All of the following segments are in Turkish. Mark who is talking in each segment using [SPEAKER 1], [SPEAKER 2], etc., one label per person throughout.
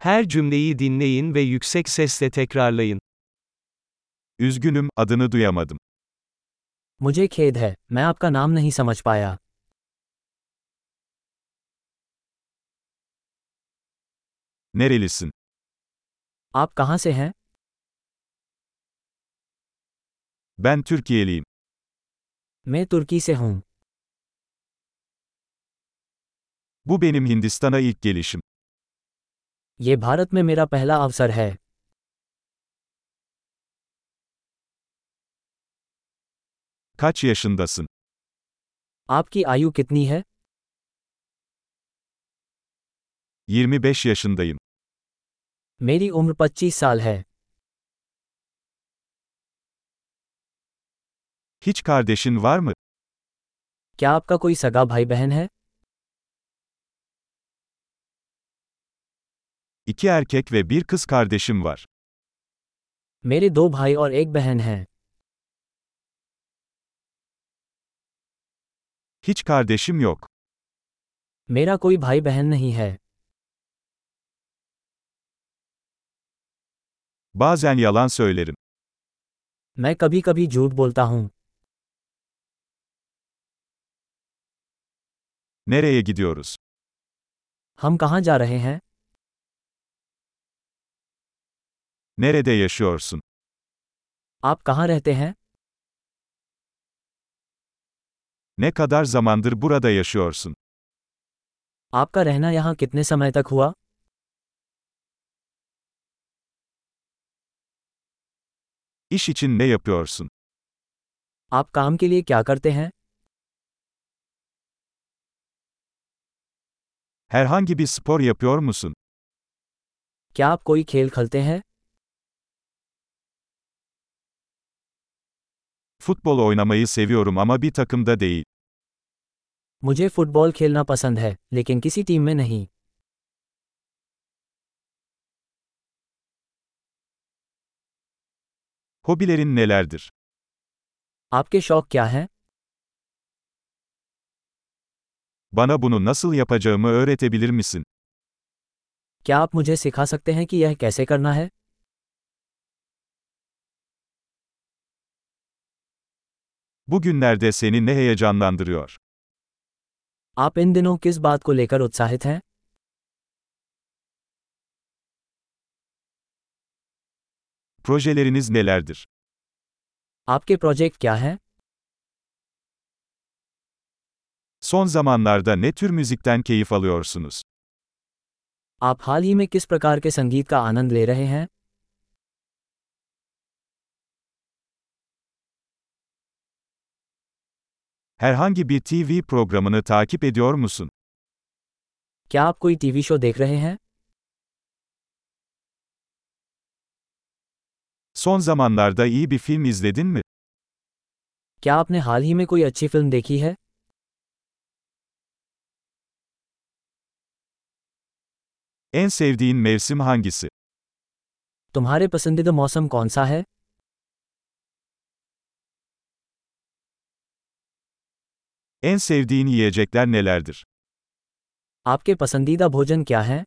[SPEAKER 1] Her cümleyi dinleyin ve yüksek sesle tekrarlayın.
[SPEAKER 2] Üzgünüm, adını duyamadım.
[SPEAKER 3] मुझे खेद है मैं आपका नाम नहीं समझ पाया
[SPEAKER 2] Nerelisin?
[SPEAKER 3] आप कहाँ से हैं
[SPEAKER 2] Ben Türkiye'liyim.
[SPEAKER 3] मैं तुर्की से हूँ
[SPEAKER 2] Bu benim Hindistan'a ilk gelişim.
[SPEAKER 3] ये भारत में मेरा पहला अवसर है
[SPEAKER 2] Kaç yaşındasın?
[SPEAKER 3] आपकी आयु कितनी है
[SPEAKER 2] 25 yaşındayım.
[SPEAKER 3] मेरी उम्र 25 साल है
[SPEAKER 2] Hiç kardeşin var mı?
[SPEAKER 3] क्या आपका कोई सगा भाई बहन है
[SPEAKER 2] İki erkek ve bir kız kardeşim var.
[SPEAKER 3] मेरे दो भाई और एक बहन है
[SPEAKER 2] Hiç kardeşim yok.
[SPEAKER 3] मेरा कोई भाई बहन नहीं है
[SPEAKER 2] Bazen yalan söylerim.
[SPEAKER 3] मैं कभी कभी झूठ बोलता हूँ
[SPEAKER 2] Nereye gidiyoruz?
[SPEAKER 3] हम कहाँ जा रहे हैं
[SPEAKER 2] Nerede yaşıyorsun?
[SPEAKER 3] आप कहाँ रहते हैं
[SPEAKER 2] Ne kadar zamandır burada yaşıyorsun?
[SPEAKER 3] आपका रहना यहाँ कितने समय तक हुआ
[SPEAKER 2] İş için ne yapıyorsun?
[SPEAKER 3] आप काम के लिए क्या करते हैं
[SPEAKER 2] Herhangi bir spor yapıyor musun?
[SPEAKER 3] क्या आप कोई खेल खेलते हैं
[SPEAKER 2] Futbol oynamayı seviyorum ama bir takımda değil.
[SPEAKER 3] मुझे फुटबॉल खेलना पसंद है लेकिन किसी टीम में नहीं
[SPEAKER 2] Hobilerin nelerdir?
[SPEAKER 3] आपके शौक क्या हैं
[SPEAKER 2] Bana bunu nasıl yapacağımı öğretebilir misin?
[SPEAKER 3] क्या आप मुझे सिखा सकते हैं कि यह कैसे करना है
[SPEAKER 2] Bugünlerde seni ne heyecanlandırıyor?
[SPEAKER 3] आप इन दिनों किस बात को लेकर उत्साहित हैं
[SPEAKER 2] Projeleriniz nelerdir?
[SPEAKER 3] आपके प्रोजेक्ट क्या हैं
[SPEAKER 2] Son zamanlarda ne tür müzikten keyif alıyorsunuz?
[SPEAKER 3] आप हाल ही में किस प्रकार के संगीत का आनंद ले रहे हैं
[SPEAKER 2] Herhangi bir TV programını takip ediyor musun?
[SPEAKER 3] क्या आप कोई टीवी शो देख रहे हैं
[SPEAKER 2] Son zamanlarda iyi bir film izledin mi?
[SPEAKER 3] क्या आपने हाल ही में कोई अच्छी फिल्म देखी है
[SPEAKER 2] En sevdiğin mevsim hangisi?
[SPEAKER 3] तुम्हारे पसंदीदा मौसम कौन सा है
[SPEAKER 2] En sevdiğin yiyecekler nelerdir?
[SPEAKER 3] आपके पसंदीदा भोजन क्या है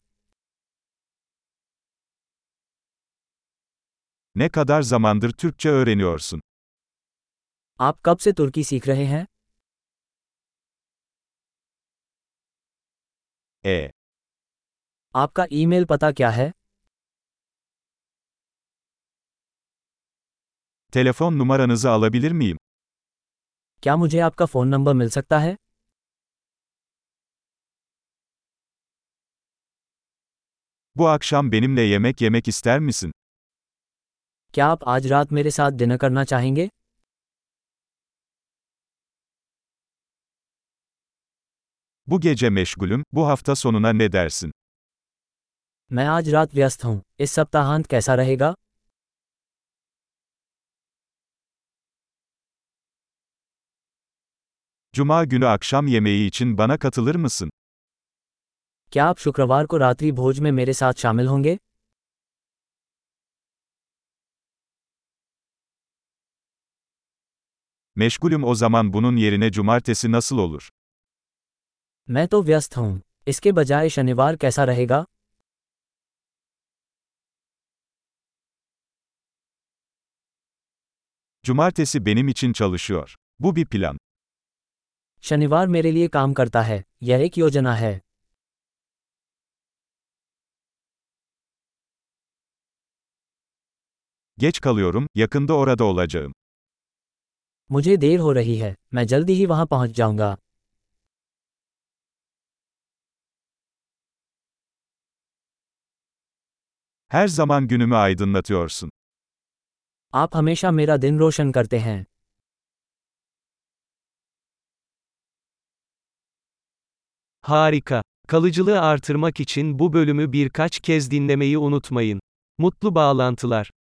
[SPEAKER 2] Ne kadar zamandır Türkçe öğreniyorsun?
[SPEAKER 3] आप कब से तुर्की सीख रहे हैं
[SPEAKER 2] E.
[SPEAKER 3] आपका ईमेल पता क्या है
[SPEAKER 2] Telefon numaranızı alabilir miyim?
[SPEAKER 3] क्या मुझे आपका फ़ोन नंबर मिल सकता है
[SPEAKER 2] Bu akşam benimle yemek yemek ister misin?
[SPEAKER 3] क्या आप आज रात मेरे साथ डिनर करना चाहेंगे
[SPEAKER 2] Bu gece meşgulüm, bu hafta sonuna ne dersin?
[SPEAKER 3] मैं आज रात व्यस्त हूँ इस सप्ताहांत कैसा रहेगा
[SPEAKER 2] Cuma günü akşam yemeği için bana katılır mısın?
[SPEAKER 3] क्या आप शुक्रवार को रात्रि भोज में मेरे साथ शामिल होंगे
[SPEAKER 2] Meşgulüm o zaman bunun yerine cumartesi nasıl olur?
[SPEAKER 3] मैं तो व्यस्त हूँ इसके बजाय शनिवार कैसा रहेगा
[SPEAKER 2] Cumartesi benim için çalışıyor. Bu bir plan.
[SPEAKER 3] शनिवार मेरे लिए काम करता है यह एक योजना है
[SPEAKER 2] Geç kalıyorum, yakında orada olacağım.
[SPEAKER 3] मुझे देर हो रही है मैं जल्दी ही वहां पहुंच जाऊंगा
[SPEAKER 2] Her zaman günümü aydınlatıyorsun.
[SPEAKER 3] आप हमेशा मेरा दिन रोशन करते हैं
[SPEAKER 1] Harika. Kalıcılığı artırmak için bu bölümü birkaç kez dinlemeyi unutmayın. Mutlu bağlantılar.